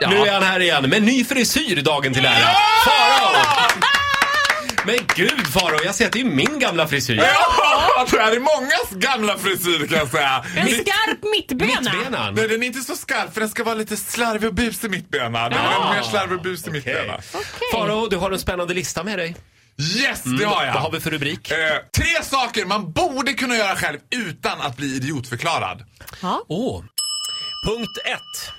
Ja. Nu är han här igen med ny frisyr dagen till ära. Farao! Men gud Farao, jag ser att det är min gamla frisyr. Ja, det här är mångas gamla frisyr kan jag säga. En skarp mittbena. Mittbenan. Nej, den är inte så skarp för den ska vara lite slarvig och busig mittbena. Den är mer slarvig och busig mittbena. Farao, du har en spännande lista med dig. Yes, det har jag. Mm, Vad har vi för rubrik? Eh, tre saker man borde kunna göra själv utan att bli idiotförklarad. Ja. Åh. Punkt ett.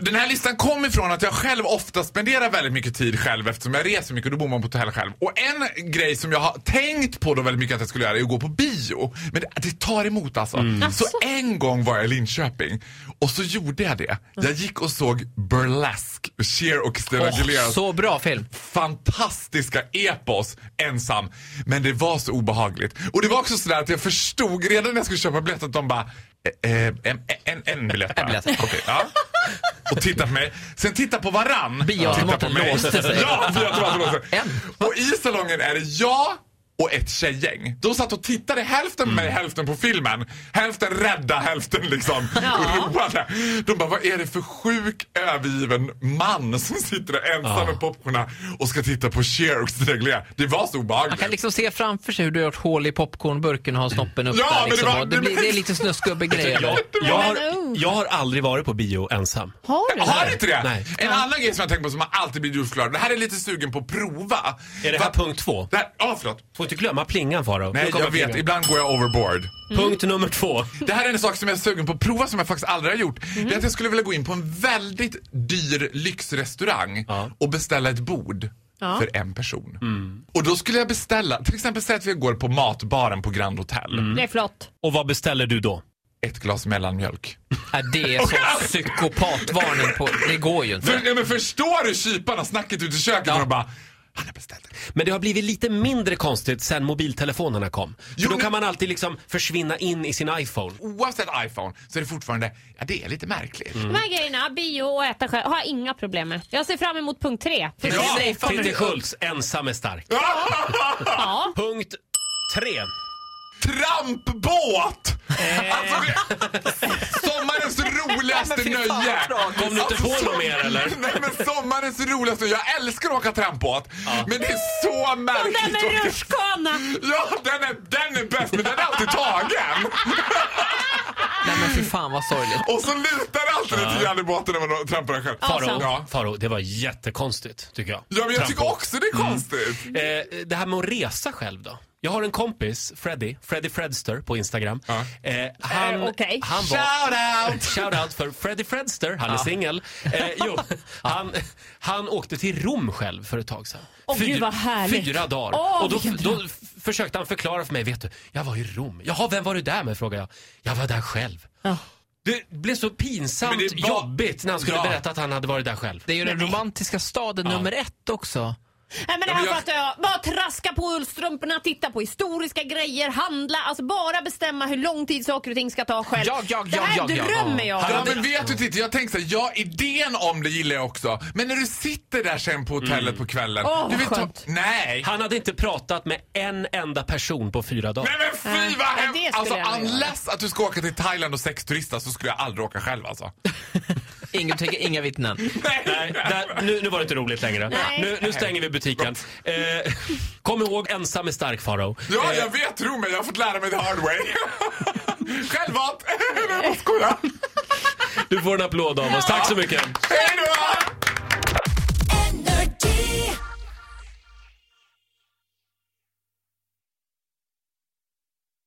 Den här listan kom ifrån att jag själv ofta spenderar väldigt mycket tid själv eftersom jag reser mycket och då bor man på hotell själv. Och en grej som jag har tänkt på då väldigt mycket att jag skulle göra är att gå på bio. Men det, det tar emot alltså. Så en gång var jag i Linköping och så gjorde jag det. Jag gick och såg Burlesque, Cher och Christina Aguilera. så bra film. fantastiska epos ensam. Men det var så obehagligt. Och det var också sådär att jag förstod redan när jag skulle köpa biljett att de bara eh, eh, en, en, en biljett bara. En biljett. Okej, ja. Och titta på mig. Sen titta på varann. Titta på Bioautomaten mig. låste sig. Ja, bioautomaten låste sig. En. Och i salongen är det jag och ett tjejgäng. De satt och tittade hälften på mig, Mm. hälften på filmen. Hälften rädda, hälften liksom roade. De bara, vad är det för sjuk övergiven man som sitter där ensam med popcornen och ska titta på Cher och Christina Aguilera? Det var så Man obehagligt. kan liksom se framför sig hur du har gjort hål i popcornburken och har snoppen upp Ja, men det där. Liksom. var- Och det, blir, det är lite snuskgubbe-grejer. Jag, jag, har, Men, oh. jag har aldrig varit på bio ensam. Har du? Har ni inte det? Nej. En annan grej som jag tänker på som man alltid blir djurförklarad. Det här är lite sugen på att prova. Är det här Va- punkt två? Det här, ja, förlåt. Får inte glömma plingan Farao. Nu Nej, kommer jag vet. plingan. Ibland går jag overboard. Punkt nummer två. Det här är en sak som jag är sugen på att prova som jag faktiskt aldrig har gjort. Det är att jag skulle vilja gå in på en väldigt dyr lyxrestaurang Ja. och beställa ett bord. Ja. För en person. Och då skulle jag beställa, till exempel säg att vi går på matbaren på Grand Hotel. Det är flott. Och vad beställer du då? Ett glas mellanmjölk. Ja, det är så psykopatvarning på... Det går ju inte. För, ja, men förstår du kyparna snacket ute i köket när de bara han har beställt det. Men det har blivit lite mindre konstigt sen mobiltelefonerna kom. Jo, För då nu- kan man alltid liksom försvinna in i sin iPhone. Oavsett iPhone så är det fortfarande, ja det är lite märkligt. De här grejerna, bio och äta själv, har jag inga problem med. Jag ser fram emot punkt tre. För Ja. det är fan- Titti Schultz, ensam är stark. Ja. Punkt tre. Trampbåt! Eh. Alltså, det- sommarens roligaste nöje! Alltså, Kom du inte på något mer eller? Nej men sommarens roligaste, jag älskar att åka trampbåt. Men det är så Den märkligt. där med att åka- rutschkana! Ja, den är, den är bäst men den är alltid tagen. Nej men fy fan vad sorgligt. Och så lutar det alltid lite grann i båten när man trampar den själv. Alltså. Ja. Faro, Faro, det var jättekonstigt tycker jag. ja, men jag tycker Trampor. också det är Mm. konstigt. Eh, det här med att resa själv då. Jag har en kompis, Freddy, Freddy Fredster på Instagram. Ja. Eh, han, Eh, okej. han var... Shout out! Shoutout för Freddy Fredster, han är singel. Eh, jo, han, han åkte till Rom själv för ett tag sedan. Åh, gud, vad härligt. Fyra dagar. Åh, och då, vilken då f- försökte han förklara för mig, vet du, jag var i Rom. Jaha, vem var du där med? frågade jag. Jag var där själv. Ja. Det blev så pinsamt Men det var- jobbigt när han skulle Ja. berätta att han hade varit där själv. Det är ju den romantiska staden nummer ett också. Nej, men det Ja, här men jag- fattar jag. Bara traska på ullstrumporna, titta på historiska grejer, handla. Alltså bara bestämma hur lång tid saker och ting ska ta själv. Ja, ja, ja, det här ja, ja. drömmer jag om. Ja, men vet du Titti, jag tänker så här, ja idén om det gillar jag också. Men när du sitter där sen på hotellet Mm. på kvällen. du Åh, vad vet, ta- skönt. nej. Han hade inte pratat med en enda person på fyra dagar. Nej men Nej, fy vad nej, hemskt! det skulle Alltså jag aldrig unless att du ska åka till Thailand och sexturista så skulle jag aldrig åka själv alltså. Ingen tänker inga vittnen. Nej, där, nu, nu var det inte roligt längre. Nej. Nu, nu stänger vi butiken. Eh, kom ihåg, ensam är stark Farao. Ja, jag vet, tro mig, jag har fått lära mig the hard way. Självhat! Nej, jag skojar. Du får en applåd av oss. Tack så mycket. Hej då!